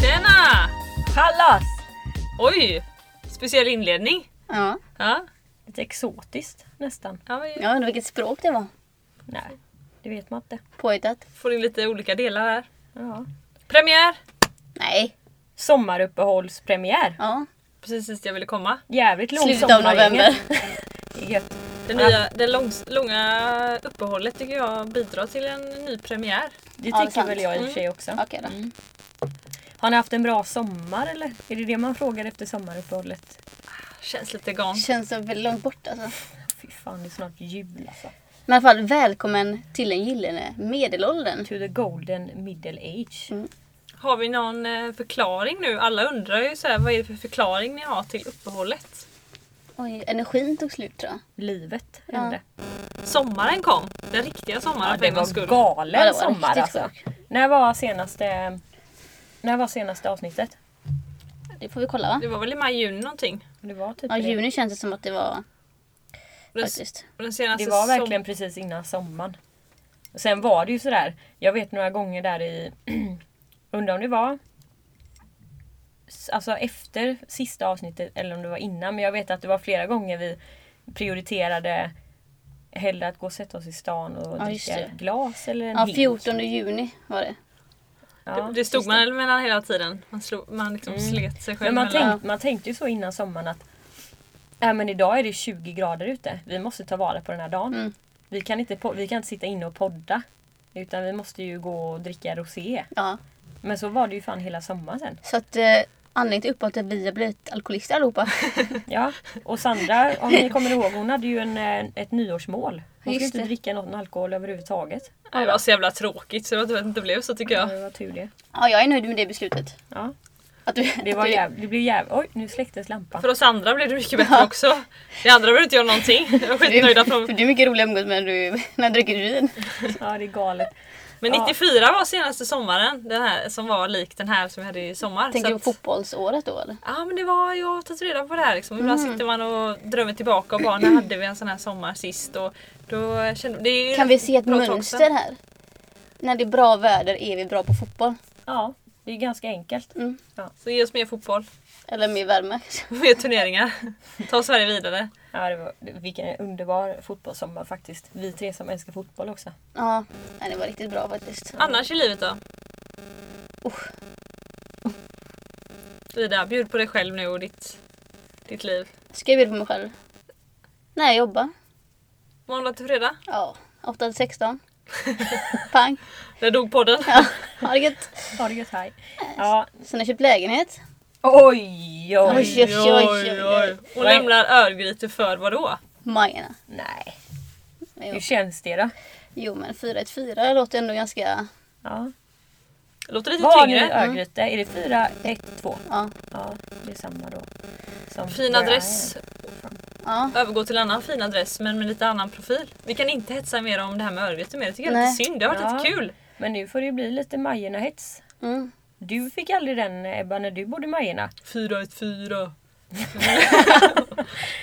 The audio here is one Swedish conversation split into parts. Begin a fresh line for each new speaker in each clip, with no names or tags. Tjena!
Kallas!
Oj! Speciell inledning.
Ja.
Ja,
Lite exotiskt nästan.
ja vi
Jag undrar vilket språk det var.
Nej, det vet man inte.
Påhittat.
får in lite olika delar här.
Ja.
Premiär!
Nej.
Sommaruppehållspremiär.
Ja.
Precis dit jag ville komma.
Jävligt lång
Slutet av
sommar,
november.
Det är gött.
Det,
Ja.
nya, det långs, långa uppehållet tycker jag bidrar till en ny premiär.
Ja,
Det
det är
tycker
sant. Mm.
väl jag i och för sig också.
Okej då.
Mm.
Har ni haft en bra sommar eller? Är det det man frågar efter sommaruppehållet?
Känns lite gone.
Känns så väldigt långt bort alltså.
Fy fan, det är snart jul alltså.
Men i alla fall välkommen till den gyllene medelåldern.
To the golden middle age.
Har vi någon eh, förklaring nu? Alla undrar ju så här, vad är det för förklaring ni har till uppehållet?
Oj, energin tog slut tror jag.
Livet hände.
Sommaren kom. Den riktiga sommaren
Ja,
för
det
en gångs
var
skull.
galen
Ja, det var
sommar
riktigt
alltså.
sjuk.
När var senaste... När var senaste avsnittet?
Det får vi kolla va?
Det var väl i maj, juni någonting?
Det var typ
Ja,
det.
juni känns det som att det var
Den,
faktiskt.
den senaste
Alltså,
Det var
som-
verkligen precis innan sommaren. Och Sen var det ju sådär, jag vet några gånger där i... undrar om det var... s- Alltså efter sista avsnittet eller om det var innan. Men jag vet att det var flera gånger vi prioriterade hellre att gå och sätta oss i stan och
Ja, just
dricka
det.
ett glas eller en
Ja,
hink.
14 juni var det.
Ja,
det, det stod
just
man mellan hela tiden. Man, slog, man liksom
Mm.
slet sig själv
Men man,
mellan.
tänk, man tänkte ju så innan sommaren att äh, men idag är det 20 grader ute. Vi måste ta vara på den här dagen.
Mm.
Vi, kan inte, po- vi kan inte sitta inne och podda. Utan vi måste ju gå och dricka rosé.
Ja.
Men så var det ju fan hela sommaren sen.
Så att eh, anledningen till uppehållet är att vi har blivit alkoholister allihopa.
Ja. Och Sandra, om ni kommer ihåg, hon hade ju en, eh, ett nyårsmål. Hon
Just
skulle inte
det.
dricka någon alkohol överhuvudtaget.
Nej, det var så jävla tråkigt så det var tur att det inte blev så tycker jag.
Mm.
Det var tur det.
Ja, jag är nöjd med det beslutet.
Ja.
Att du,
Det,
att
var
du-
jäv, det blev jäv... Oj, nu släcktes lampan.
För oss andra blev det mycket bättre också. Vi andra behövde inte göra någonting. Jag var
du,
skitnöjda. Från...
för du är mycket roligare att umgås med när du, när du dricker vin.
Ja, det är galet.
Men
Ja.
94 var senaste sommaren. Den här som var lik den här som vi hade i sommar.
Tänker du
Så
på
att-
fotbollsåret då eller?
Ja men det var, jag har tagit reda på det här liksom. Ibland
Mm.
sitter man och drömmer tillbaka och bara när hade vi en sån här sommar sist? Och då kände, det är ju
Kan vi se ett
bra tag
mönster
sedan.
här? När det är bra väder är vi bra på fotboll.
Ja, det är ganska enkelt.
Mm.
Så ge oss mer fotboll,
Eller mer värme.
mer turneringar. Ta Sverige vidare.
Ja, det var, vilken underbar fotbollssommar faktiskt. Vi tre som älskar fotboll också.
Ja, nej, det var riktigt bra faktiskt.
Annars i livet då?
Usch.
Ida, bjud på dig själv nu och ditt, ditt liv.
Ska jag bjuda på mig själv? När jag jobbar.
Måndag till fredag.
Ja, 8 till 16. Pang.
Där dog podden.
Ja, ha det gött.
Ha det gött, hej. Ja.
Sen har jag köpt lägenhet.
Oj, oj.
Oj.
Och lämnar Örgryte för vadå?
Majerna.
Nej.
Men
Hur
Jo,
känns det då?
jo men 414 låter ändå ganska...
Ja.
Låter lite
Vad har ni i
tyngre. Mm.
Örgryte? Är det 4, 1, 2?
Ja.
Ja, det är samma då. Som
Fin
where
adress.
I am.
ja.
Övergå till annan fin adress men med lite annan profil. Vi kan inte hetsa mer om det här med Örgryte mer. Det tycker jag är
Nej.
lite synd. Det har varit
Ja.
lite kul.
Men nu får det ju bli lite Majerna-hets.
Mm.
Du fick aldrig den Ebba när du bodde i Majerna.
414.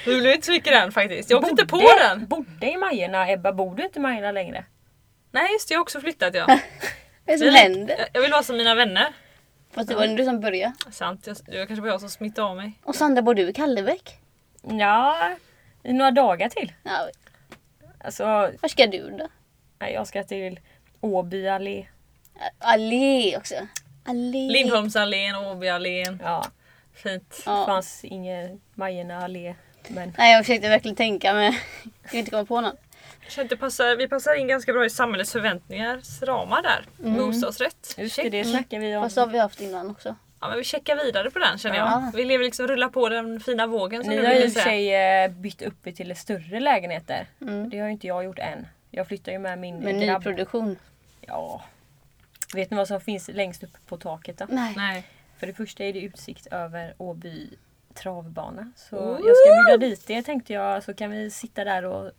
du blev inte så mycket den faktiskt. Jag åkte inte på den.
Bodde i Majerna Ebba, bor du inte i Majerna längre?
Nej just det, jag har också flyttat jag.
Vad är det som händer?
Jag- Jag vill vara som mina vänner.
Fast det var du som började.
Sant, jag, jag kanske var jag som smittade av mig.
Och Sandra, bor du i Kallebäck?
Ja, i några dagar till.
Ja,
Alltså,
var ska du då?
nej, jag ska till Åby allé.
Allé också. Allé.
Lindholmsallén, Åbyallén.
Ja,
Fint.
Det
Ja.
fanns ingen Majerna allé. Men
Nej, jag försökte verkligen tänka men jag kunde inte komma på någon.
Jag känner att det passar, vi passar in ganska bra i samhällets förväntningars ramar där. Bostadsrätt.
Mm. just
Check.
det, det snackar vi om.
Fast det har vi haft innan också.
Ja, men vi checkar vidare på den känner jag.
Ja.
Vi lever liksom rulla på den fina vågen som
Ni
du
har ju i
brukar
och för
säga.
sig eh, bytt upp er till större lägenheter. Det har ju inte jag gjort än. Jag flyttar ju med min
Mm. Med
grabb.
nyproduktion.
Ja. Vet ni vad som finns längst upp på taket då?
Nej.
Nej.
För det första är det utsikt över Åby travbana. Så jag ska bjuda dit er tänkte jag så kan vi sitta där och,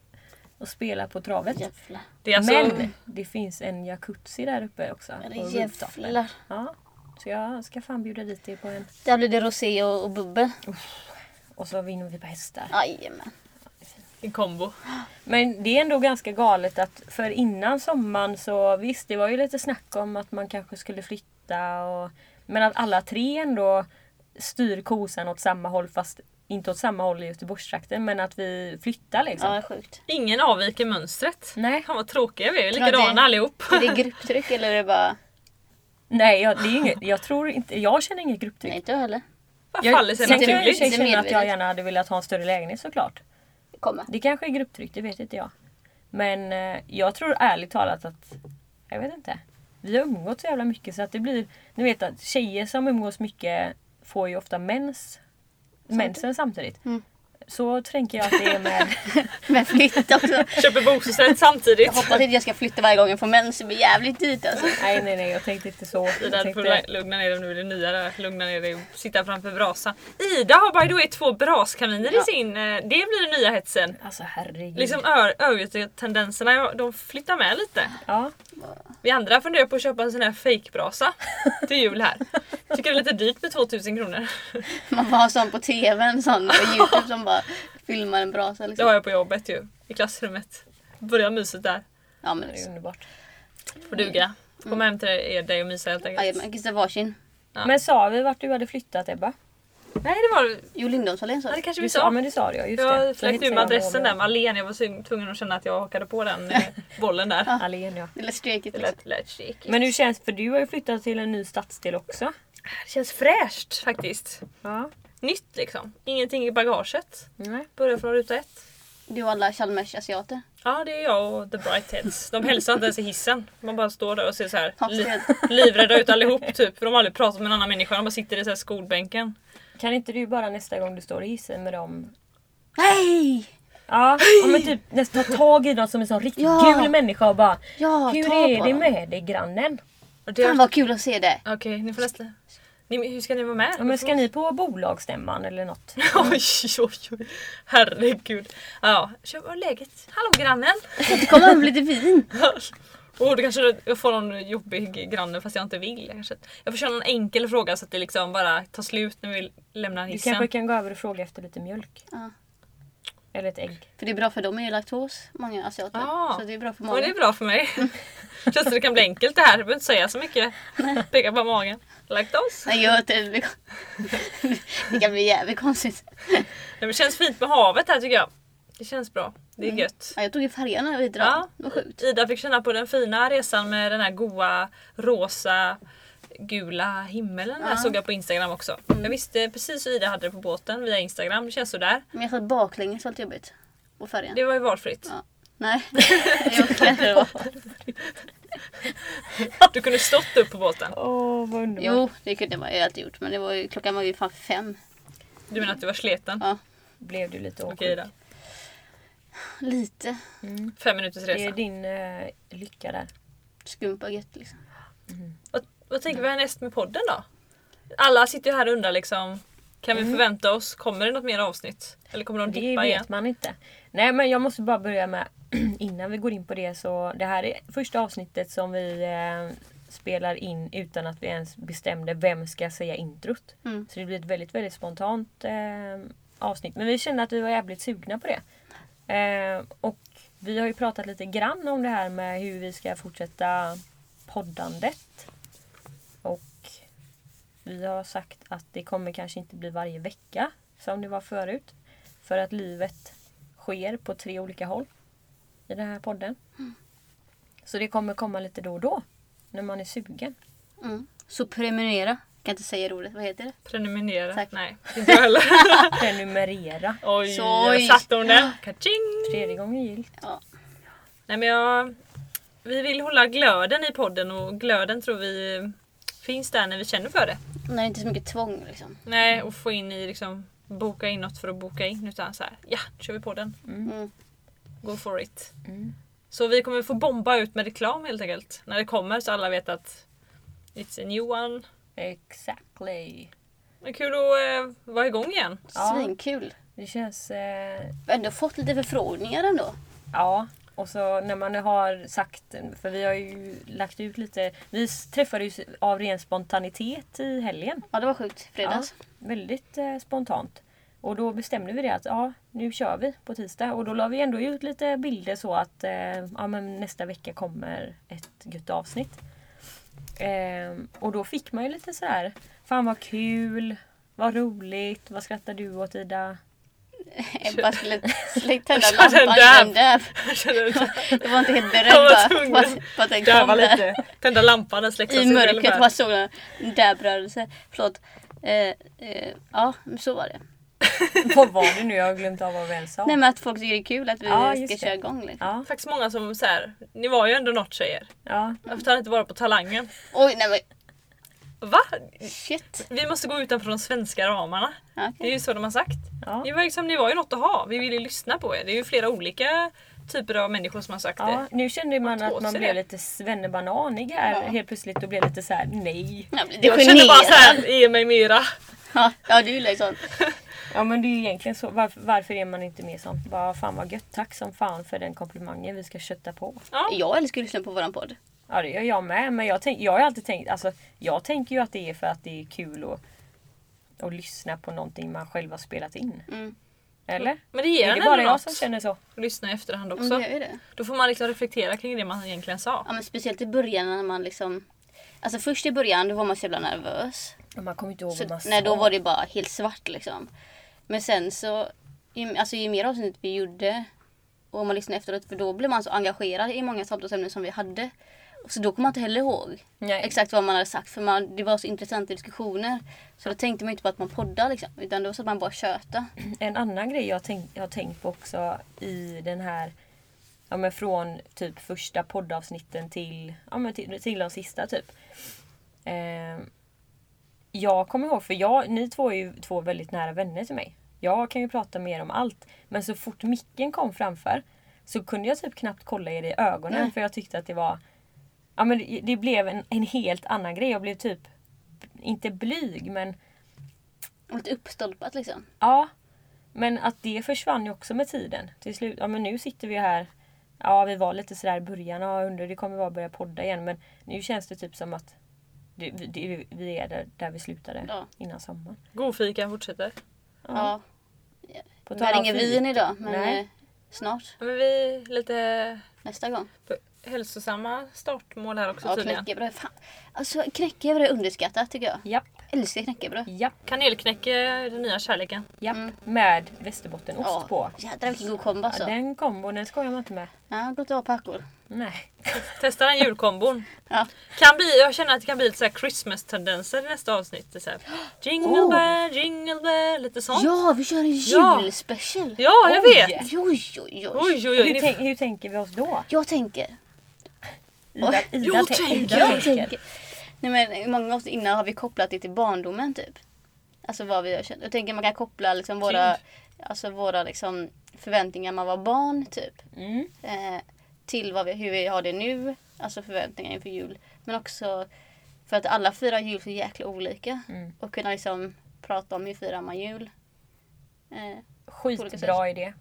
och spela på travet.
Jävlar.
Det är alltså,
Men det finns en jacuzzi där uppe också. på rooftopen.
Jävlar.
Ja. Så jag ska fan bjuda dit er på en.
Där blir det rosé och, och bubbel.
Och så vinner vi på hästar.
Jajamän.
en kombo.
Men det är ändå ganska galet att för innan sommaren så visst det var ju lite snack om att man kanske skulle flytta och Men att alla tre ändå styr kosan åt samma håll fast inte åt samma håll i Göteborgstrakten men att vi flyttar liksom.
Ja, sjukt.
Ingen avviker mönstret.
Nej,
Fan vad tråkiga vi är,
Ja, det-
likadana allihop.
Är det grupptryck eller är det bara...
nej jag, det är inget, jag tror inte, jag känner inget grupptryck.
Nej, inte jag heller.
Vad
Jag,
faller sig
sen kan jag i och
naturligt.
för sig
Inte
känna att jag
medvetet.
gärna hade velat ha en större lägenhet såklart.
Kommer.
Det kanske är grupptryck, det vet inte jag. Men eh, jag tror ärligt talat att, jag vet inte. Vi har umgåtts så jävla mycket så att det blir, ni vet att tjejer som umgås mycket får ju ofta mens, mensen samtidigt.
Mm.
Så tänker jag att det är med,
Men flytta också.
Köper bostadsrätt samtidigt.
Jag hoppas inte jag ska flytta varje gång jag får mens. Det blir jävligt dyrt alltså.
nej nej nej jag tänkte inte så. Jag
Ida, du
tänkte,
får lugna ner dig nu är det nya där. Lugna ner dig och sitta framför brasan. Ida har by the way två braskaminer i
Ja.
sin... eh, Det blir den nya hetsen.
alltså herregud.
Liksom ö- Örgryte-tendenserna, ja, de flyttar med lite.
Ja,
Vi andra funderar på att köpa en sån här fejkbrasa till jul här. Tycker det är lite dyrt med 2000 kronor.
Man får ha sån på TV, en sån på Youtube som bara filmar en brasa
Det
liksom.
har jag på jobbet ju, i klassrummet. Börja myset där.
Ja men
det är
liksom.
underbart.
Får duga. Kom hem till dig, dig och mysa helt enkelt.
Jajamän, kissa varsin.
Ja.
Men sa vi vart du hade flyttat Ebba?
Nej det var
Jo, Lindholmsallén sa
ja, det.
du.
kanske
Du
vi
sa,
sa.
ja, men det sa jag, just det.
Jag
Så
slängde
hetsar
ur med
jag
adressen
honom.
där med Alén. Jag var så tvungen att känna att jag hakade på den eh, bollen där.
Allén ja.
Det lät stekigt
Det
liksom.
lät, lät chic.
Men hur känns För du har ju flyttat till en ny stadsdel också.
Det känns fräscht faktiskt.
Ja.
Nytt liksom. Ingenting i bagaget.
Nej.
Börjar från ruta ett.
Du och alla Chalmers-asiater.
Ja, det är jag och The Brightheads. De hälsar inte ens i hissen. Man bara står där och ser så här li-
Absolut.
livrädda ut allihop typ. För de har aldrig pratat med en annan människa. De bara sitter i så här skolbänken.
Kan inte du bara nästa gång du står i hissen med dem
Nej!
Ja, ja men typ nästan ta tag i dem som en sån riktigt
Ja.
gul människa och bara
Ja,
Hur
ta
är
på
det
dem.
med dig grannen?
Och det-
Fan
Okej,
vad kul att se det.
ni får nästa. Ni, hur ska ni vara med?
Ja, men ska ni på bolagsstämman eller något?
Oj, oj, oj. Herregud. Ja, kör vad är läget? Hallå grannen!
Kan inte komma hem lite vin?
Oh, då kanske jag får någon jobbig granne fast jag inte vill. Jag, kanske, jag får köra någon enkel fråga så att det liksom bara tar slut när vi lämnar
Du
hissen.
kanske kan gå över och fråga efter lite mjölk?
Ja.
Eller ett ägg?
För det är bra för dem är ju laktos, många asiater.
Ja.
Så det är bra för
Ja, det är
magen.
bra för mig. Känns som det kan bli enkelt det här. Jag behöver inte säga så mycket. Peka på magen. Laktos.
Nej, jag det, det, det kan bli jävligt konstigt.
Nej, men Det känns fint med havet här tycker jag. Det känns bra. Det är gött.
Ja, jag tog ju färgerna vid drar.
Ja.
Det var Mm. sjukt.
Ida fick känna på den fina resan med den här goa rosa gula himmelen. Den
Ja. Mm.
såg jag på Instagram också. Jag visste precis hur Ida hade det på båten via Instagram. Det känns sådär.
Men jag satt baklänges var lite jobbigt. Och färgen.
Det var ju valfritt.
Ja. Nej. jag orkar inte.
Du kunde stått upp på båten.
Åh vad underbart.
Jo, det kunde man ju alltid gjort. Men det var ju, klockan var ju fan fem.
Du menar att du var sleten?
Ja,
Blev du lite åksjuk?
Okej Ida.
lite.
Fem minuters
Det
resa.
Mm. är din eh, lycka där.
Skumpa gött liksom.
Vad, vad tänker vi härnäst med podden då? Alla sitter ju här och undrar liksom kan vi förvänta oss, kommer det något mer avsnitt? Eller kommer de
Mm. Det
dippa
vet
igen?
man inte. Nej men jag måste bara börja med innan vi går in på det så det här är första avsnittet som vi eh, spelar in utan att vi ens bestämde vem ska säga introt.
Mm.
Så det blir ett väldigt väldigt spontant eh, avsnitt. Men vi kände att vi var jävligt sugna på det. Eh, och vi har ju pratat lite grann om det här med hur vi ska fortsätta poddandet. Och vi har sagt att det kommer kanske inte bli varje vecka som det var förut. För att livet sker på tre olika håll i den här podden. Så det kommer komma lite då och då. När man är sugen.
Mm. Så prenumerera. Kan inte säga det ordet. Vad heter det?
Prenumerera?
Tack.
Nej, inte jag heller.
Prenumerera.
Oj,
Soj.
jag satte hon den. Kaching!
Tredje gången gillt.
Ja.
Nej men jag... Vi vill hålla glöden i podden och glöden tror vi finns där när vi känner för det.
När det är inte är så mycket tvång liksom.
Nej, och få in i liksom boka in något för att boka in utan så här, ja, nu kör vi podden.
Mm.
Go for it.
Mm.
Så vi kommer få bomba ut med reklam helt enkelt. När det kommer så alla vet att it's a new one.
Exactly.
Men kul att eh, vara igång igen.
Ja.
Svinkul.
Det känns... Eh,
Vi har ändå fått lite förfrågningar ändå.
ja. Och så när man har sagt... För vi har ju lagt ut lite... Vi träffade ju av ren spontanitet i helgen.
Ja, det var sjukt. Fredags.
Väldigt eh, spontant. Och då bestämde vi det att ja, nu kör vi på tisdag. Och då la vi ändå ut lite bilder så att eh, ja, men nästa vecka kommer ett gött avsnitt. Ehm, och då fick man ju lite så här. Fan vad kul. Vad roligt. Vad skrattar du åt Ida?
Ebba skulle slä- tända
Jag kände
lampan
däv.
men däv.
Jag känner att
Jag var inte helt beredd
Jag var
bara
tvungen.
på att- på att den
jag
kom
var
där.
lite. Tända lampan, den släcks av
I
sig själv
mörkret
här.
bara såg jag en dävrörelse. Förlåt. Eh, eh, ja, men så var det.
Vad var det nu? Jag har glömt av vad vi ens sa.
Nej men att folk tycker det är kul att vi
Ja,
ska
just det.
köra igång liksom. lite.
Ja,
Faktiskt många som så här, ni var ju ändå något tjejer.
ja.
Varför tar ni inte vara på talangen?
Oj, nej men
Va?
shit.
Vi måste gå utanför de svenska ramarna.
Ja,
Det är
okej.
ju så de har sagt.
ja.
Ni var, liksom, ni var ju något att ha. Vi ville ju lyssna på er. Det är ju flera olika typer av människor som har sagt
Ja,
det.
nu kände man
Ta
att man
sig
blev
det.
lite svennebananig här
Ja.
helt plötsligt och blev lite så här: nej.
Jag blev
Jag
lite
kände bara
generad.
såhär, ge mig mera.
Ja, ja, du liksom- gillar ju sånt.
Ja men det är ju egentligen så. Varför, varför är man inte med sånt? Bara fan vad gött. Tack som fan för den komplimangen. Vi ska kötta på.
Ja.
Jag älskar att lyssna på våran podd.
Ja det gör jag med. Men jag, tänk, jag har ju alltid tänkt, alltså jag tänker ju att det är för att det är kul att, att lyssna på någonting man själv har spelat in.
Mm.
Eller?
Men det
Är
ger
det
en
bara
ändå
jag som
något.
känner så?
Lyssna i efterhand
Mm,
också.
det är det.
Då får man liksom reflektera kring det man egentligen sa.
Ja, men speciellt i början när man liksom... Alltså först i början då var man så jävla nervös.
Ja, Man kommer inte ihåg
Så,
vad man sa.
nej, då var det bara helt svart liksom. Men sen så, ju, alltså, ju mer avsnitt vi gjorde och om man lyssnade efteråt, för då blev man så engagerad i många samtalsämnen som vi hade. Och Så då kommer man inte heller ihåg
Nej.
exakt vad man hade sagt för man, det var så intressanta diskussioner. Så då tänkte man inte på att man poddar liksom, utan då satt man bara och tjötade.
En annan grej jag, tänk, jag har tänkt på också i den här ja, men från typ första poddavsnitten till, ja, men till, till de sista typ. Ehm, jag kommer ihåg, för jag, ni två är ju två väldigt nära vänner till mig. Jag kan ju prata med er om allt. Men så fort micken kom framför så kunde jag typ knappt kolla er i ögonen
Nej.
för jag tyckte att det var... Ja men det, det blev en, en helt annan grej. Jag blev typ, inte blyg men
Och lite uppstolpat liksom.
Ja, men att det försvann ju också med tiden. Till slut, ja men nu sitter vi här. Ja, vi var lite sådär i början. Ja, undrar hur det kommer vara att börja podda igen. Men nu känns det typ som att det, det, vi är där, där vi slutade
Ja.
innan sommaren.
God fika fortsätter.
Ja.
På
Vi hade ingen vin idag, men
Nej.
eh, snart.
Men vi lite
Nästa gång.
hälsosamma startmål här också
Ja,
tydligen.
knäckebröd. Fan. Alltså knäckebröd är underskattat tycker jag.
Japp,
jag älskar knäckebröd.
japp,
Kanelknäcke, är den nya kärleken.
japp.
Mm.
Med västerbottenost
Ja,
Mm, på.
Jädrar vilken god kombo alltså.
Ja,
Ja,
den kombon, den skojar man inte med.
det låter apakor.
Nej.
Testa den julkombon.
Ja.
Kan bli, jag känner att det kan bli lite så här Christmas-tendenser i nästa avsnitt. Det är Så här, jingle
Oh.
bell, jingle bell, lite sånt.
Ja, vi kör en
Ja.
julspecial!
Ja, jag
Oj.
vet!
Oj, oj, oj.
Oj, oj, oj.
Hur,
Ni,
tänk, hur tänker vi oss då?
Jag tänker.
Ida,
Oj,
Ida,
jag
tän-
tänker-
Ida
Jag tänker. Nej, men många gånger innan har vi kopplat det till barndomen typ. Alltså vad vi har känt. Jag tänker man kan koppla liksom våra, alltså våra liksom förväntningar när man var barn typ.
Mm.
eh, till vad vi, hur vi har det nu, alltså förväntningar inför jul. Men också för att alla firar jul så jäkla olika.
Mm.
Och kunna liksom prata om hur firar man jul. Eh,
Skitbra idé.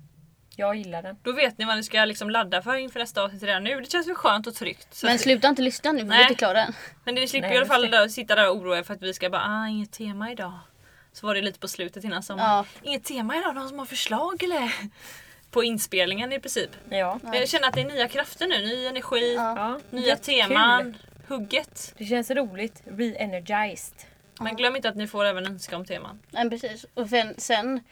Jag gillar den.
då vet ni vad ni ska liksom ladda för inför nästa avsnitt redan nu. Det känns väl skönt och tryggt. Så
men
att-
sluta inte lyssna nu, för vi är
Nej.
inte klara än.
men ni slipper
Nej,
i alla fall
just
där, sitta där och oroa er för att vi ska bara ah, inget tema idag. Så var det lite på slutet innan sommaren. Inget tema idag, någon som har förslag eller? På inspelningen i princip.
Ja.
Men Jag känner att det är nya krafter nu, ny energi,
Ja.
ja.
nya
Jättekul.
teman, hugget.
Det känns roligt. Re-energized.
Men glöm inte att ni får även önska om teman.
Nej, precis. Och sen, sen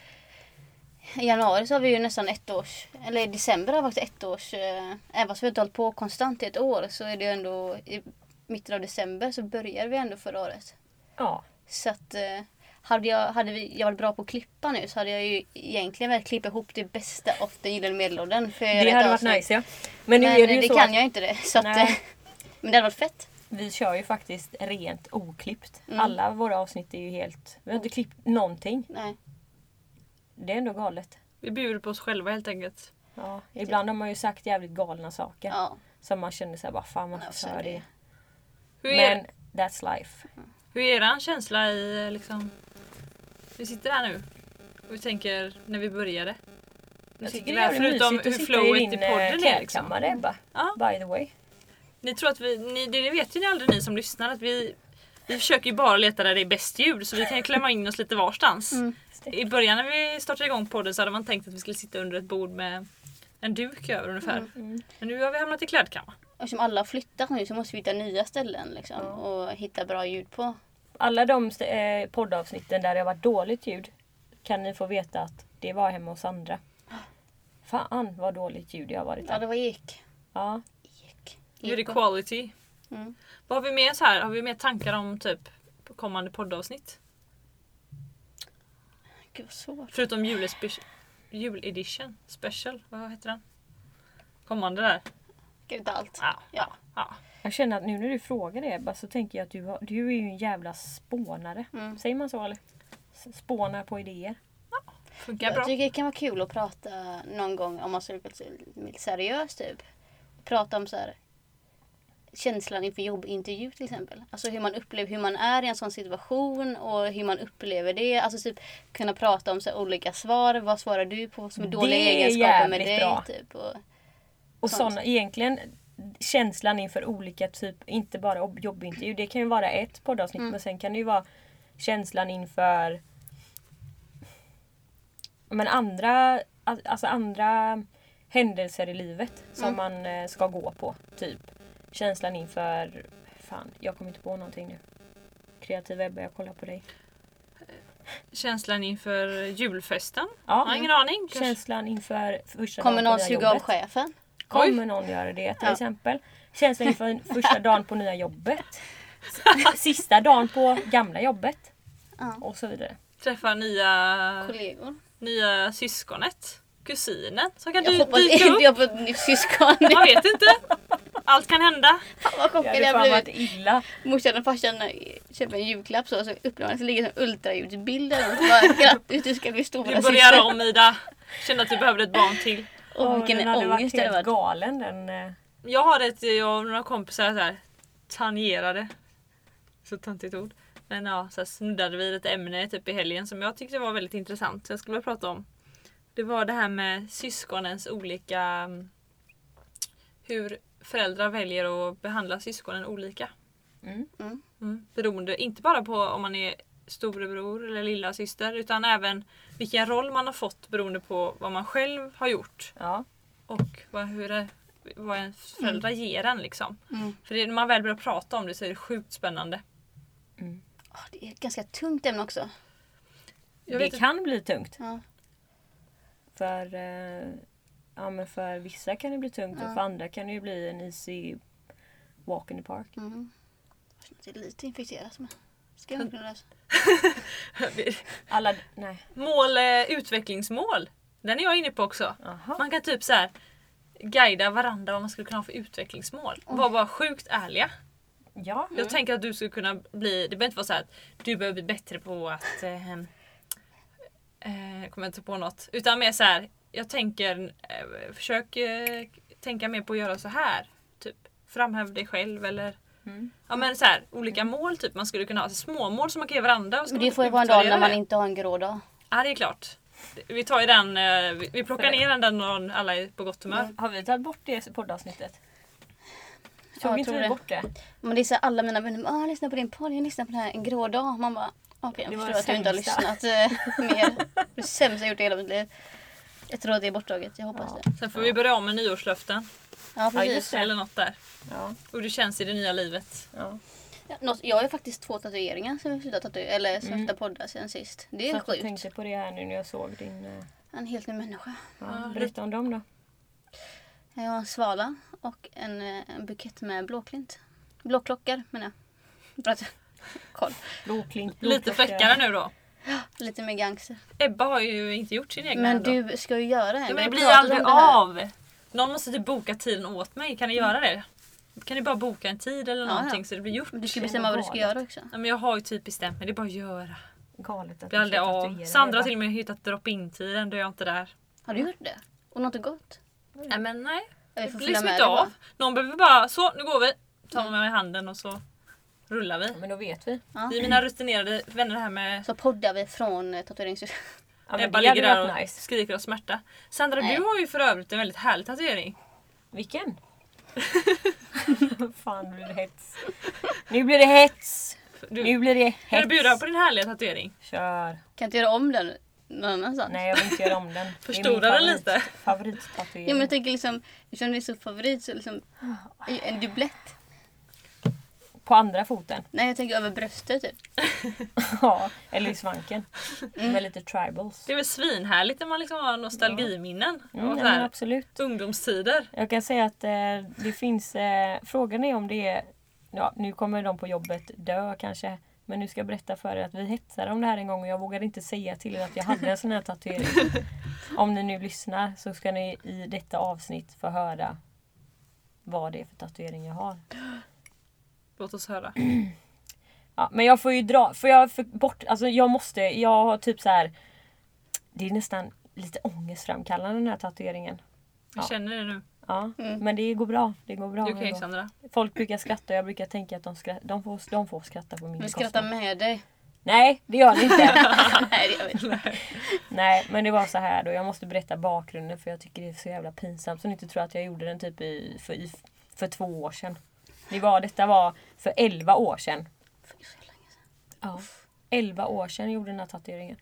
i januari så har vi ju nästan ett års, eller i december har vi faktiskt ett års, eh, även fast vi har inte hållit på konstant i ett år så är det ju ändå i mitten av december så började vi ändå förra året.
Ja.
Så att eh, hade, jag, hade vi, jag varit bra på att klippa nu så hade jag ju egentligen velat klippa ihop det bästa av den gyllene medelåldern. För jag gör
Det
ett
hade varit
avsnitt.
nice ja. Men nu
Men eh,
är det
det,
ju så
kan
att
jag inte det. Så att,
Nej.
eh, men det hade varit fett.
vi kör ju faktiskt rent oklippt.
Mm.
Alla våra avsnitt är ju helt... Vi har inte klippt någonting.
Nej.
Det är ändå galet.
Vi bjuder på oss själva helt enkelt.
Ja. Ibland har man ju sagt jävligt galna saker.
Ja.
Som man känner såhär, bara fan
Ja,
varför
så
sa
är
jag
det.
det?
Hur är,
Men that's life.
hur är er känsla i eh, liksom... Vi sitter här nu och vi tänker när vi började.
Jag
tycker
tycker det
det är
är
förutom
mysigt
hur
att sitta i
flowet i
din
podden är,
eh,
liksom.
klädkammare Ebba.
Ja.
By the way.
Ni tror att vi, ni, det vet ju ni aldrig ni som lyssnar att vi, vi försöker ju bara leta där det är bäst ljud så vi kan ju klämma in oss lite varstans.
Mm.
I början när vi startade igång podden så hade
Mm,
man tänkt att vi skulle sitta under ett bord med en duk över ungefär. Men nu har vi hamnat i klädkammaren.
Eftersom alla flyttar nu så måste vi hitta nya ställen liksom, och hitta bra ljud på.
Alla de st- eh, poddavsnitten där det har varit dåligt ljud kan ni få veta att det var hemma hos Sandra. Fan vad dåligt ljud jag har varit
Ja,
här.
det var ek.
Ja.
ek.
Nu är det
Eko.
quality.
Mm.
Vad har vi mer så här? Har vi mer tankar om typ kommande poddavsnitt?
Gud vad svårt.
Förutom julespe- juledition special. Vad heter den? Kommande där.
Gud allt.
Ah.
Ja.
Ja.
ja.
Jag känner att nu när du frågar det bara så tänker jag att du, har, du är ju en jävla spånare.
Mm.
Säger man så eller? S- Spånar på idéer.
Funkar
Jag
bra.
tycker det kan vara kul att prata någon gång om man skulle vilja lite seriöst typ. Prata om så här känslan inför jobbintervju till exempel. Alltså hur man upplever hur man är i en sån situation och hur man upplever det. Alltså typ kunna prata om så här, olika svar. Vad svarar du på som är
Det
dåliga
är
egenskaper med
jävligt
dig?
bra.
Typ, och,
Och
Sånt.
såna, egentligen känslan inför olika typ, inte bara ob- jobbintervju. Det kan ju vara ett poddavsnitt
Mm.
men sen kan det ju vara känslan inför men andra, al- alltså andra händelser i livet som
Mm.
man eh, ska gå på. Typ känslan inför, fan jag kommer inte på någonting nu. Kreativ Ebba, jag kollar på dig.
Känslan inför julfesten?
Ja,
Jag
Mm.
har ingen aning. Kanske.
känslan inför första
kommer
dagen på
någon
nya
suga av
jobbet.
chefen?
Kommer någon göra det till
Ja.
exempel? Känslan inför första dagen på nya jobbet. S- Sista dagen på gamla jobbet.
Ja.
Och så vidare.
Träffa nya,
Kollegor?
nya syskonet? Kusinen som kan
Jag
dy-
hoppas
dyka
inte
upp?
jag får ett nytt syskon.
Man vet inte. Allt kan hända.
Fan vad
Jag
chockad
hade
jag
fan
blev.
varit illa.
morsan och farsan köper en julklapp så, så öppnar man så ligger det en ultraljudsbild där och så bara grattis du ska bli
Vi
stora
börjar om Ida. Kände att du behövde ett barn till.
Och vilken
den hade
ångest
varit
det
helt
hade varit.
galen den. eh.
Jag har ett, jag och några kompisar så här, tangerade. Så töntigt ord. Men ja, så här snuddade vi ett ämne typ i helgen som jag tyckte var väldigt intressant. Så jag skulle vilja prata om. Det var det här med syskonens olika... mm, Hur föräldrar väljer att behandla syskonen olika.
Mm.
Mm.
Mm. Beroende inte bara på om man är storebror eller lilla syster utan även vilken roll man har fått beroende på vad man själv har gjort.
Ja.
Och vad, hur det, vad en föräldrar ger en liksom.
Mm.
För det, när man väl börjar prata om det så är det sjukt spännande.
Åh, det är ett ganska tungt ämne också.
Jag
det
vet
kan bli tungt.
Ja.
För, eh, ja, men för vissa kan det bli tungt och för andra kan det ju bli en easy walk in the park.
Mm. Det är lite infekterat med. Ska jag kunna lösa?
Alla, nej.
Mål, eh, utvecklingsmål. Den är jag inne på också.
Aha.
Man kan typ så här guida varandra vad man skulle kunna ha för utvecklingsmål. Var bara sjukt ärliga.
Ja.
Mm.
Jag tänker att du skulle kunna bli, det behöver inte vara så här att du behöver bli bättre på att... Eh, eh, jag kommer inte på något. Utan mer så här, jag tänker, eh, försök eh, tänka mer på att göra så här. Typ framhäv dig själv eller
Mm.
Ja men så här, olika mål typ man skulle kunna ha, alltså, små mål som man kan ge varandra. Och så
Mm. Men det
kan man
får ju
typ
vara en dag
utvärdera
när man
det.
inte har en grå dag.
Ja det är klart. Vi tar ju den, eh, vi- vi plockar ner den den dagen alla är på gott humör.
Har vi tagit bort det poddavsnittet?
Ja,
Tog
jag
inte
tror
vi
det.
bort det?
Men det är så här, alla mina vänner bara, "Ah, lyssna på din podd, jag lyssnar på den här en grå dag. Man bara okej
Det
jag
var
förstår att du inte har
sämsta.
lyssnat eh, mer. Det sämsta jag gjort i hela mitt liv. Jag tror att det är borttaget, jag hoppas
Ja.
det.
Sen får vi börja om med nyårslöften.
Ja
Ja,
precis.
just det.
Eller något där.
Ja,
Och det känns i det nya livet.
ja.
Ja, Något, jag har ju faktiskt två tatueringar som jag slutat tatuera, eller som mm. podda sen sist. Det är
Så att jag
sjukt.
tänkte på det här nu när jag såg din... eh,
En helt ny människa.
Ja, berätta om dem då.
Jag har en svala och en, eh, en bukett med blåklint. Blåklockor menar jag. Bra att jag koll.
Blåklint,
Lite fräckare nu då.
Lite mer gangster.
Ebba har ju inte gjort sin egen
Men
ändå.
du ska ju göra en.
Ja,
Vi
men det
har
blir ju
pratat om
aldrig
det här.
av. Någon måste typ boka tiden åt mig, kan ni göra det? Kan ni bara boka en tid eller
Ja, ja.
någonting så det blir gjort?
Men Du ska bestämma vad du ska göra också.
Ja, men jag har ju typ bestämt mig, det är bara att göra.
Galet att
blir
du
aldrig
ska
av.
tatuera
Sandra har
dig,
till och med hittat drop-in-tiden, då är jag inte där.
Har du gjort det? Och något gott?
Nej men nej,
Ja, Vi
det
får
blir
följa
liksom
med Mm.
inte
dig bara.
av. Någon behöver bara, så nu går vi. Tar man mig i handen och så rullar vi.
va? Men då vet vi.
Vi är mina rutinerade vänner här med
Så poddar vi från eh, tatuerings...
Ja, men
Ebba
det hade
ligger
varit
där och
nice.
skriker av smärta. Sandra
Nej.
du har ju för övrigt en väldigt härlig tatuering.
Vilken? Fan, nu blir det hets. Nu blir det hets!
Du,
Nu blir det
kan du bjuda
hets.
på din härliga tatuering?
Kör.
Kan inte göra om den. någon annanstans.
Nej jag vill inte göra om den. Det är min
Förstora den
favorit-
lite.
Favorittatuering.
Ja, men jag tänker liksom, eftersom det är så favorit så liksom,
Ah.
i en dubblett.
På andra foten.
Nej jag tänker över bröstet typ.
Ja, eller i svanken.
Mm.
Med lite tribals.
Det är väl svinhärligt när man liksom har nostalgiminnen.
Mm,
och
nej,
så
men
här,
absolut.
ungdomstider.
Jag kan säga att eh, det finns... Eh, frågan är om det är... Ja, nu kommer de på jobbet dö kanske. Men nu ska jag berätta för er att vi hetsade om det här en gång och jag vågade inte säga till er att jag hade en sån här tatuering. Om ni nu lyssnar så ska ni i detta avsnitt få höra vad det är för tatuering jag har.
Låt oss höra.
Ja, men jag får ju dra, får jag för bort, alltså jag måste, jag har typ så här. Det är nästan lite ångestframkallande den här tatueringen.
Jag
Ja.
känner det nu.
Ja,
Mm.
men det går bra. Det går bra.
Du är
det
okej
går.
Sandra.
Folk brukar skratta och jag brukar tänka att de, skra- de, får, de får skratta på min
Vi
bekostnad.
skrattar med dig.
Nej, det gör det inte.
Nej det gör vi inte.
Nej, men det var så här då. Jag måste berätta bakgrunden för jag tycker det är så jävla pinsamt. Så ni inte tror att jag gjorde den typ i, för, i, för två år sedan. Det var, detta var för elva år sedan. Ja. 11 år sedan jag gjorde den här tatueringen.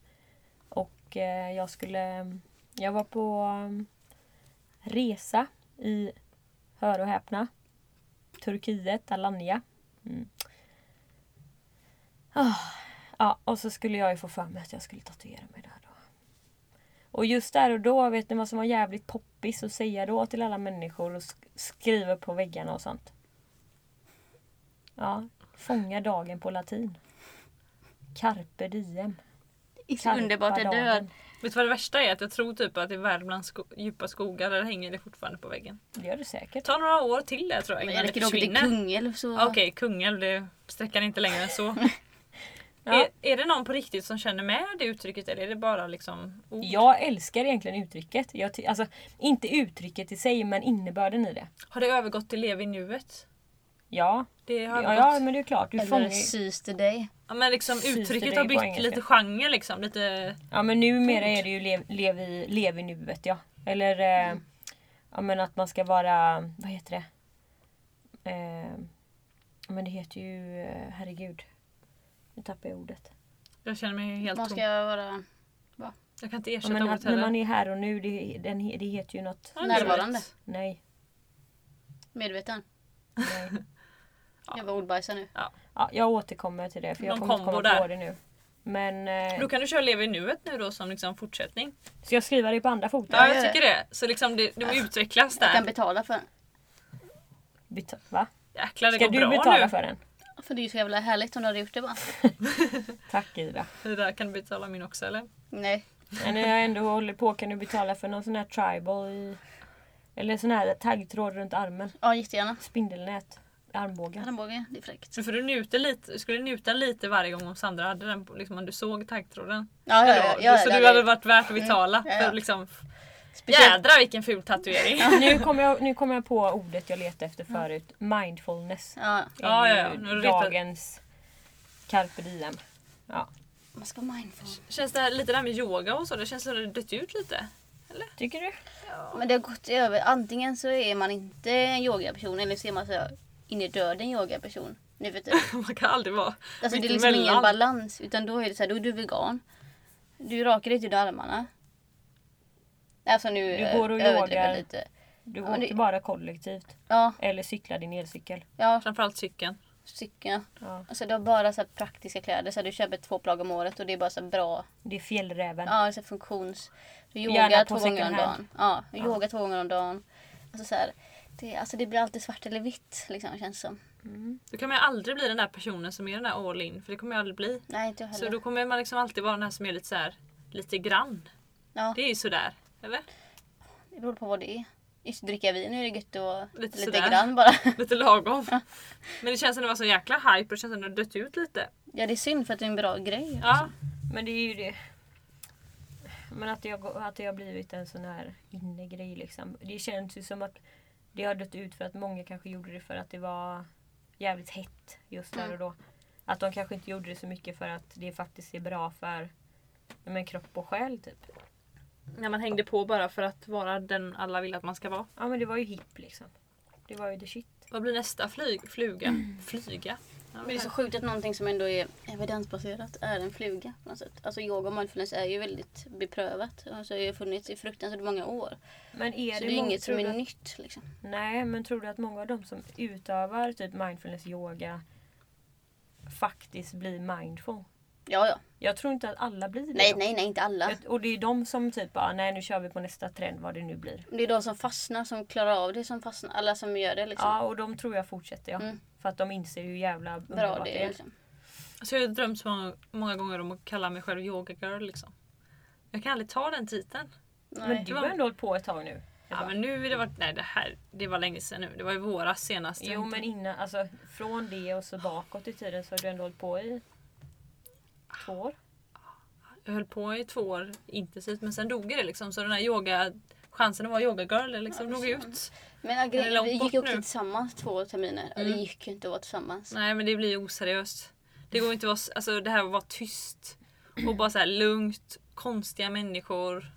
Och eh, jag skulle... Jag var på um, resa i, hör och häpna, Turkiet, Alanya. Mm. Ah, ja, och så skulle jag ju få för mig att jag skulle tatuera mig där då. Och just där och då, vet ni vad som var jävligt poppis att säga då till alla människor och sk- skriva på väggarna och sånt? Ja, fånga dagen på latin. Carpe diem.
Det är så underbart
Karpa
jag dör.
dagen.
Vet du vad det värsta är? Att jag tror typ att i Värmlands sko- djupa skogar där hänger det fortfarande på väggen.
Det gör du
Det
säkert.
tar några år till det tror jag
Men jag
innan det
räcker nog till
försvinner.
Kungälv så...
Ja, Okej, Kungälv, det sträcker inte längre än så.
Ja.
är, är det någon på riktigt som känner med det uttrycket eller är det bara liksom ord?
Jag älskar egentligen uttrycket. Jag ty- alltså, inte uttrycket i sig, men innebörden i det.
Har det övergått till lev i nuet?
Ja,
Det har
ja,
övergått.
ja men det är klart. Du fångar
Eller
ju...
sys till dig.
Ja, men liksom
Syns det
uttrycket
dig
har
på
bytt
engelska?
lite genre liksom. Lite...
Ja, men numera är det ju lev, lev, i, lev i nuet, ja. Eller eh,
Mm.
ja, men att man ska vara... Vad heter det? Eh, men det heter ju... eh, Herregud. Nu tappar jag ordet.
Jag känner mig helt
Man
tom.
ska vara
Jag kan inte
Ja,
ersätta
men
ordet
att, när
heller.
man är här och nu, det, den, det heter ju något...
Ja, det är
närvarande.
rätt.
Nej.
medveten.
nej.
Jag var ordbajsar nu.
Ja, jag återkommer till det för jag
Någon
kommer inte komma
kombo
på
där.
det nu. Men, eh,
Då kan du köra Lev i nuet nu då som liksom fortsättning.
ska jag skriva det på andra foten?
Ja,
gör
jag tycker det. Så liksom det, det
Alltså,
utvecklas
Jag kan
där.
betala för den.
Beta- va?
Jäklar det
Ska
går
du
bra
betala
nu.
för den?
För det är ju så jävla härligt om du hade gjort det bara.
Tack Ida.
Det där kan du betala min också eller?
Nej.
Men när jag ändå håller på kan du betala för någon sån här tribal i... Eller sån här taggtråd runt armen.
Ja jättegärna.
Spindelnät. i Armbågen.
Armbåge, det är fräckt.
Så får du njuta lite, skulle njuta lite varje gång om Sandra hade den, på- liksom om du såg taggtråden.
Ja, ja,
Eller
ja,
vad?
ja,
så
det
du hade
hade-
varit värt att betala.
ja, ja.
För liksom,
Speciellt
jädra vilken ful tatuering!
Nu kommer jag, nu kommer jag på ordet jag letade efter förut. Mindfulness.
Ja,
Är
Ja, ja, ja.
ju
Nu har du ritat-
dagens carpe diem. Ja.
man ska vara mindful.
Känns det här, lite där med yoga och så, det känns som det har dött ut lite.
Tycker du?
Men det har gått över. Antingen så är man inte en yogaperson eller så är man så in i döden yogaperson. Nu för tiden.
Man kan aldrig vara
Alltså det är
mitt
liksom ingen
emellan.
balans. Utan då är det så här, då är du vegan. Du rakar inte under armarna. Alltså nu
Du går och
eh, överdriver
yogar.
lite.
Du
men
åker
det-
bara kollektivt.
Ja,
Eller cyklar din elcykel.
ja,
Framförallt cykeln.
cykeln.
Ja.
Alltså du har bara så här praktiska kläder. Så här, du köper två plagg om året och det är bara så här bra.
Det är fjällräven.
Ja, så här, funktions... Du
Gärna
yogar
på
två gånger om
second hand.
dagen. Ja, du yogar två gånger om dagen. Alltså så här, det, alltså det blir alltid svart eller vitt liksom känns som.
Då kan man ju aldrig bli den där personen som är den där all in, för det kommer jag aldrig bli.
Nej, inte jag heller.
Så då kommer man liksom alltid vara den här som är lite så här, lite grann.
Ja,
Det är ju sådär, eller?
det beror på vad det är. Just dricka vin är det gött och lite,
Lite sådär.
grann bara.
Lite lagom. Men det känns som det var så jäkla hype och det känns som det har dött ut lite.
Ja, det är synd för att det är en bra grej.
Ja,
Men det är ju det. Men att det, har, gå- att det har blivit en sån här innegrej liksom. Det känns ju som att det har dött ut för att många kanske gjorde det för att det var jävligt hett just där och då. Att de kanske inte gjorde det så mycket för att det faktiskt är bra för ja, men, kropp och själ typ.
när man hängde på bara för att vara den alla vill att man ska vara.
Ja men det var ju hipp liksom. Det var ju the shit.
Mm. Vad blir nästa flyg, fluga? Flyga? Ja,
Men det är så
tack.
sjukt att någonting som ändå är evidensbaserat är en fluga på något sätt. Alltså yoga och mindfulness är ju väldigt beprövat. Alltså det har ju funnits i fruktansvärt många år.
Men är
så
det,
det är
många-
inget
tror
som
du
är
att-
nytt liksom.
Nej, men tror du att många av de som utövar typ mindfulness yoga faktiskt blir mindful?
Ja, ja.
Jag tror inte att alla blir det.
Nej,
dock.
nej, nej, inte alla.
Jag- Och det är de som typ bara, nej nu kör vi på nästa trend vad det nu blir.
Det är de som fastnar, som klarar av det, som fastnar. Alla som gör det liksom.
Ja, och de tror jag fortsätter ja.
Mm.
För att de inser hur jävla
Bra
underbart
det är liksom.
Alltså jag har drömt så många, många gånger om att kalla mig själv yoga girl liksom. Jag kan aldrig ta den titeln.
Men
Nej.
du har ändå hållit på ett tag nu.
Ja men nu har det varit, nej det här, det var länge sedan nu. Det var i våras senast.
Jo men innan, alltså från det och så bakåt i tiden så har du ändå hållit på i två år.
Jag höll på i två år intensivt men sen dog det liksom. Så den här yoga, chansen att vara yoga girl liksom
Ja,
dog
så.
ut.
Men
Det är
grejen,
långt
vi
bort
gick ju också
nu.
tillsammans två terminer. Och
Mm.
det gick ju inte att vara tillsammans.
Nej men det blir oseriöst. Det går inte att vara, alltså det här att vara tyst. Och bara så här lugnt, konstiga människor.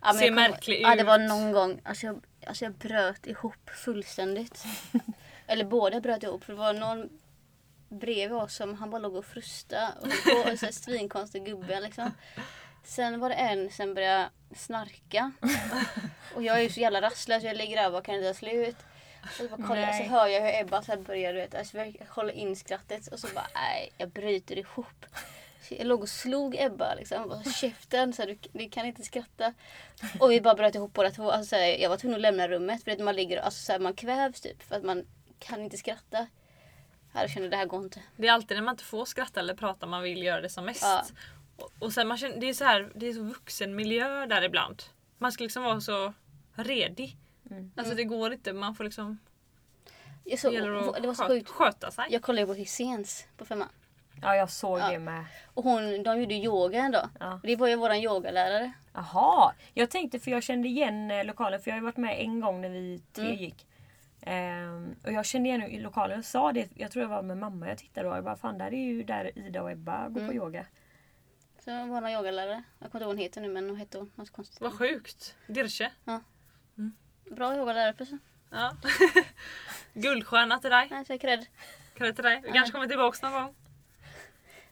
Ja, men
Ser
jag kommer-
märklig
Ja, det
ut.
var någon gång. Alltså jag, alltså jag bröt ihop fullständigt. Eller båda bröt ihop. För det var någon bredvid oss som han bara låg och frustade. Och så en sån här svinkonstig gubbe liksom. Sen var det en som började snarka. Och jag är ju så jävla rastlös. Jag ligger där och bara, kan det ta slut? Och så, bara kollar, jag, så
Nej.
hör jag hur Ebba så här börjar du vet, alltså jag håller in skrattet och så bara nej, jag bryter ihop. Så jag låg och slog Ebba liksom. Bara, käften, så här, du, du kan inte skratta. Och vi bara bröt ihop båda två. Alltså, så här, jag var tvungen att lämna rummet för att man ligger alltså, så här, man kvävs typ för att man kan inte skratta. Jag kände det här går inte.
Det är alltid när man inte får skratta eller prata man vill göra det som mest.
Ja.
Och, och sen man känner, det är så här, det är så vuxen miljö där ibland. Man ska liksom vara så redig.
Mm.
Alltså det går inte, man får liksom
Jag
det
såg,
gäller att
det var så
sköt-
sjukt.
sköta sig.
Jag kollade ju på Hyséns på femman.
Ja jag såg
Ja.
det med.
Och hon, de gjorde yoga en dag.
Ja.
Det var ju våran yogalärare.
Jaha! Jag tänkte för jag kände igen eh, lokalen för jag har ju varit med en gång när vi tre
Mm.
gick. Ehm, och jag kände igen i lokalen och sa det, jag tror jag var med mamma jag tittade och jag bara fan där är ju där Ida och Ebba går på
Mm.
yoga.
Så det var våran yogalärare. Jag kommer inte ihåg vad hon heter nu men hon hette något konstigt.
Vad sjukt. Dirche.
Bra yogalärare precis.
Ja. Guldstjärna till dig.
Nej, så jag är cred.
Credit till dig. Vi kanske kommer tillbaka någon gång.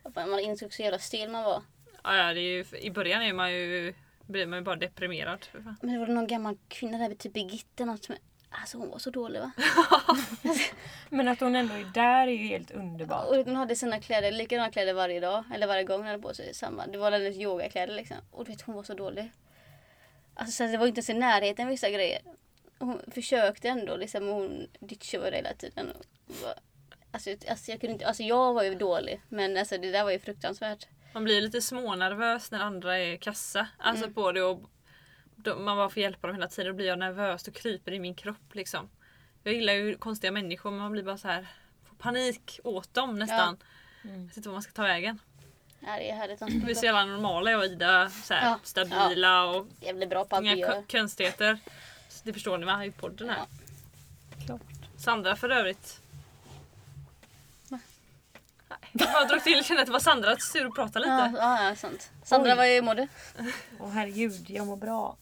Jag bara, Man insåg så jävla stel man var.
Ja, ja, det är ju, I början är man ju, blir man ju bara deprimerad. för fan.
Men det var någon gammal kvinna där, typ Birgitta något som... Alltså hon var så dålig va?
Men att hon ändå är där är ju helt underbart.
Och hon hade sina kläder, likadana kläder varje dag. Eller varje gång hon hade på sig samma. Det var hennes yogakläder liksom. Och du vet hon var så dålig. Alltså så här, det var inte ens i närheten vissa grejer. Hon försökte ändå liksom men hon ditchade varandra hela tiden. Och bara, alltså, alltså, jag kunde inte, alltså jag var ju dålig. Men alltså det där var ju fruktansvärt.
Man blir lite smånervös när andra är kassa. Alltså på det och då, man bara får hjälpa dem hela tiden. Då blir jag nervös och kryper i min kropp liksom. Jag gillar ju konstiga människor men man blir bara så här får panik åt dem nästan. Mm. Jag vet inte vad man ska ta vägen.
Ja, det är härligt.
Vi är så jävla normala jag och Ida. Så här,
Ja.
Stabila och
Jävligt bra på allt vi
inga
gör.
ko- konstigheter. Så Det förstår ni va? I podden här.
Ja.
Klart.
Sandra för övrigt. Nej, jag bara drog till och kände att det var Sandra sur och prata lite.
Ja, ja, ja, sant. Sandra,
Oj.
vad hur mår du?
Åh herregud, jag mår bra.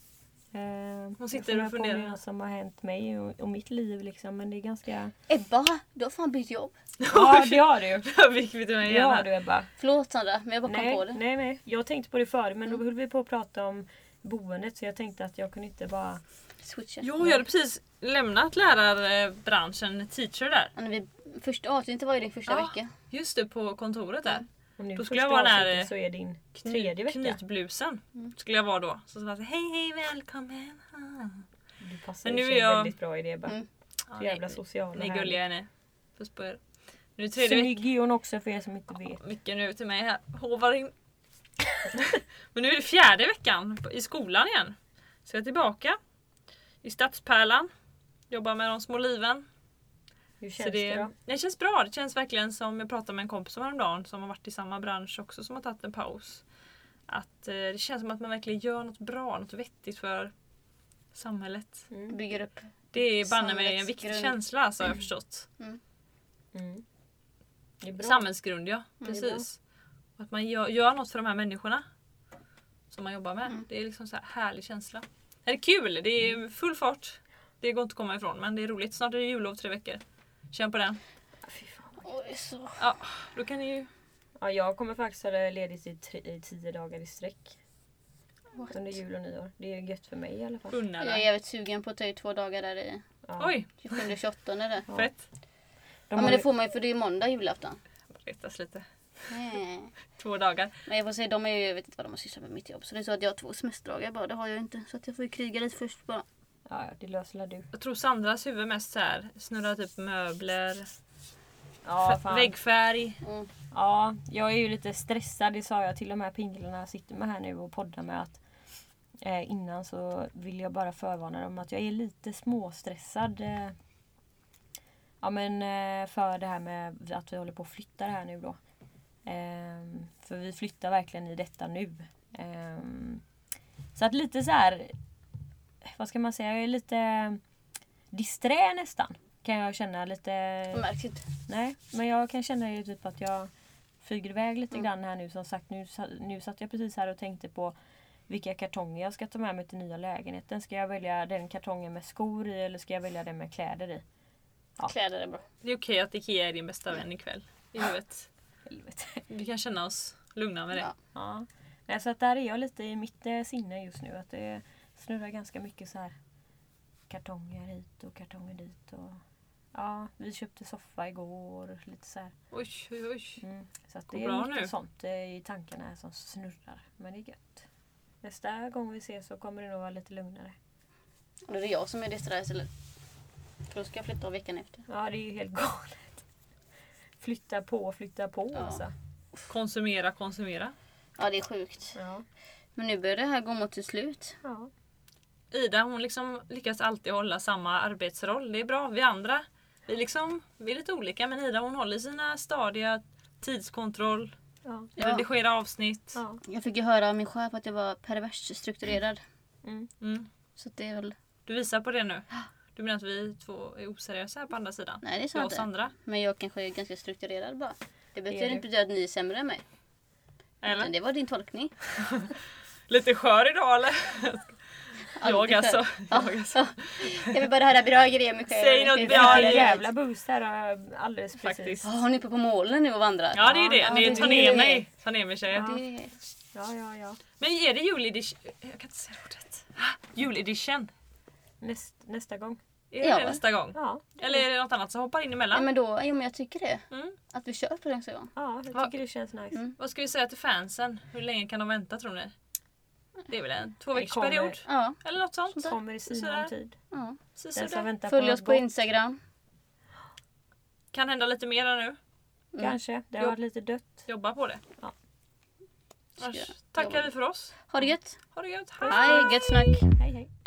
Ehm,
Hon sitter
jag
och
funderar på
funderar.
om något som har hänt mig och, och mitt liv liksom men det är ganska...
Ebba, du har fan bytt jobb.
Ja det har du!
Där fick vi till mig
Det har
gärna.
du Ebba.
Förlåt Sandra, men jag bara kom på
Nej,
det. Mm.
nej, nej. Jag tänkte på det förr men då höll vi på att prata om boendet så jag tänkte att jag kunde inte bara...
Switcha.
Jo, jag hade precis lämnat lärarbranschen, teacher där.
Ja, när vi, första avsnittet var ju din första
Ja.
vecka.
Just det, på kontoret där.
Om nu
Då skulle jag vara
första
nära-
avsnittet så är din tredje vecka. Mm.
Knytblusen skulle jag vara då. Så sa jag så här, hej hej välkommen. Ah.
Du passar
Men nu
nu
är
jag...
jag-
väldigt bra i det Ebba.
Mm.
Ja,
Så jävla
ni-
social och
Ni är
härlig.
gulliga är ni. Puss på er. Nu är det tredje veckan.
Snygg är hon också för er som inte vet.
Mycket nu till mig här. Hovar in. Men nu är det fjärde veckan på- i skolan igen. Så jag är tillbaka. I Stadspärlan. Jobbar med de små liven.
Hur
Så
känns
det,
det,
det,
då?
känns bra. Det känns verkligen som jag pratade med en kompis om häromdagen som har varit i samma bransch också som har tagit en paus. Att eh, det känns som att man verkligen gör något bra, något vettigt för samhället.
Mm,
Bygger upp.
Det är banne mig en
Samhällets
viktig
grund.
känsla alltså, har jag förstått.
Mm. Det är bra.
Samhällsgrund ja,
det är
precis. Och att man gör, gör något för de här människorna som man jobbar med.
Mm.
Det är liksom så här härlig känsla. Det är kul, det är full fart. Det går inte att komma ifrån men det är roligt. Snart är det jullov tre veckor. Känn på den.
Fy fan, vad
Oj, så.
Ja, då kan ni ju...
Ja, jag kommer faktiskt ha ledigt i, tre, i tio dagar i sträck.
What?
Under jul och nyår. Det är gött för mig i alla fall.
Unna
Jag är
dig.
jävligt sugen på att ta ut två dagar där i
Ja.
Oj,
27 och 28 är det.
Ja.
fett.
De
Ja
har
men
ju-
det får man ju för det är ju måndag julafton.
Retas lite.
Nej.
Två dagar.
Men jag får säga, de är ju, jag vet inte vad de har sysslat med mitt jobb. Så det är så att jag har två semesterdagar bara, det har jag inte. Så att jag får ju kriga lite först bara.
ja, ja, det löser väl du.
Jag tror Sandras huvud mest så här snurrar typ möbler,
Ja, fan.
väggfärg.
Mm.
Ja, jag är ju lite stressad, det sa jag till de här pinglarna jag sitter med här nu och poddar med. att eh, Innan så vill jag bara förvarna dem att jag är lite småstressad. Eh, ja men eh, för det här med att vi håller på att flytta det här nu då. Ehm, för vi flyttar verkligen i detta nu. Ehm, så att lite så här. Vad ska man säga? Jag är lite disträ nästan. Kan jag känna lite.
Jag märks inte.
Nej, men jag kan känna ju typ att jag flyger iväg lite grann här nu. Som sagt, nu, sa- nu satt jag precis här och tänkte på vilka kartonger jag ska ta med mig till nya lägenheten. Ska jag välja den kartongen med skor i eller ska jag välja den med kläder i? Ja.
Kläder är bra.
Det är okej att Ikea är din bästa vän ikväll. I huvudet.
Helvete.
Vi kan känna oss lugna med det.
Ja.
Ja. Nej, så att där är jag lite i mitt eh, sinne just nu. Att det snurrar ganska mycket så här kartonger hit och kartonger dit. Och, ja, vi köpte soffa igår. Lite så här.
Oj, oj, oj.
Mm. Så att
Går
det
bra
är mycket
nu?
sånt eh, i tankarna här som snurrar. Men det är gött. Nästa gång vi ses så kommer det nog vara lite lugnare.
Och då är det jag som är disträ istället. För då ska jag flytta av veckan efter.
Ja, det är ju helt galet. Flytta på, flytta på
Ja.
alltså.
Konsumera, konsumera.
Ja det är sjukt.
Ja.
Men nu börjar det här gå mot sitt slut.
Ja.
Ida hon liksom lyckas alltid hålla samma arbetsroll. Det är bra. Vi andra, vi, liksom, vi är lite olika men Ida hon håller sina stadiga tidskontroll,
Ja.
Ja.
redigera avsnitt.
ja.
Jag fick ju höra av min chef att jag var perverst strukturerad.
Mm.
Mm.
Så att det är väl...
Du visar på det nu. Du menar att vi två är oseriösa här på andra sidan?
Nej det är
Jag
sant
och
inte.
Sandra.
Men jag kanske är ganska strukturerad bara. Det betyder
du?
inte att ni är sämre än mig. Utan
Eller?
det var din tolkning.
Lite skör idag eller? Jag
Alltid
alltså.
själv.
Jag alltså.
Ja. Jag vill bara höra bra grejer med själv.
Säg något
Jag vill
bra.
höra
Vilken
det är-
jävla boost här eh, alldeles precis.
Faktiskt.
Ja, hon är uppe på målen nu och vandrar.
Ja det är det.
Ja,
Ni
det
tar
är
ner
det.
mig. Ta ner mig tjejer.
Ja.
Det-
Ja, ja, ja.
Men är det juledition? Jag kan inte säga ordet. Ah, Juledition.
Näst, nästa gång.
Är det
Ja.
nästa gång?
Ja,
Eller är det något annat som hoppar in emellan?
Ja, men då, jo men jag tycker det.
Mm.
Att vi kör på det nästa gång.
ja jag tycker
Va-
det känns nice.
Mm.
Vad ska vi säga till fansen? Hur länge kan de vänta tror ni? Det är väl en
kommer-
tvåveckorsperiod?
Ja.
Eller något sånt?
Kommer i sinom
Sådär.
tid.
ja.
Så, så
Den som
det
väntar
Följ
på
oss
något
på
gott.
Instagram.
kan hända lite mera nu.
Kanske. Det har
Jo.
varit lite dött.
Jobba på det.
Ja.
Annars
Ska jag
tackar
jobba?
vi för oss.
Ha det gött.
Ha det gött. Hej!
Hej, gött snack.
Hej, hej.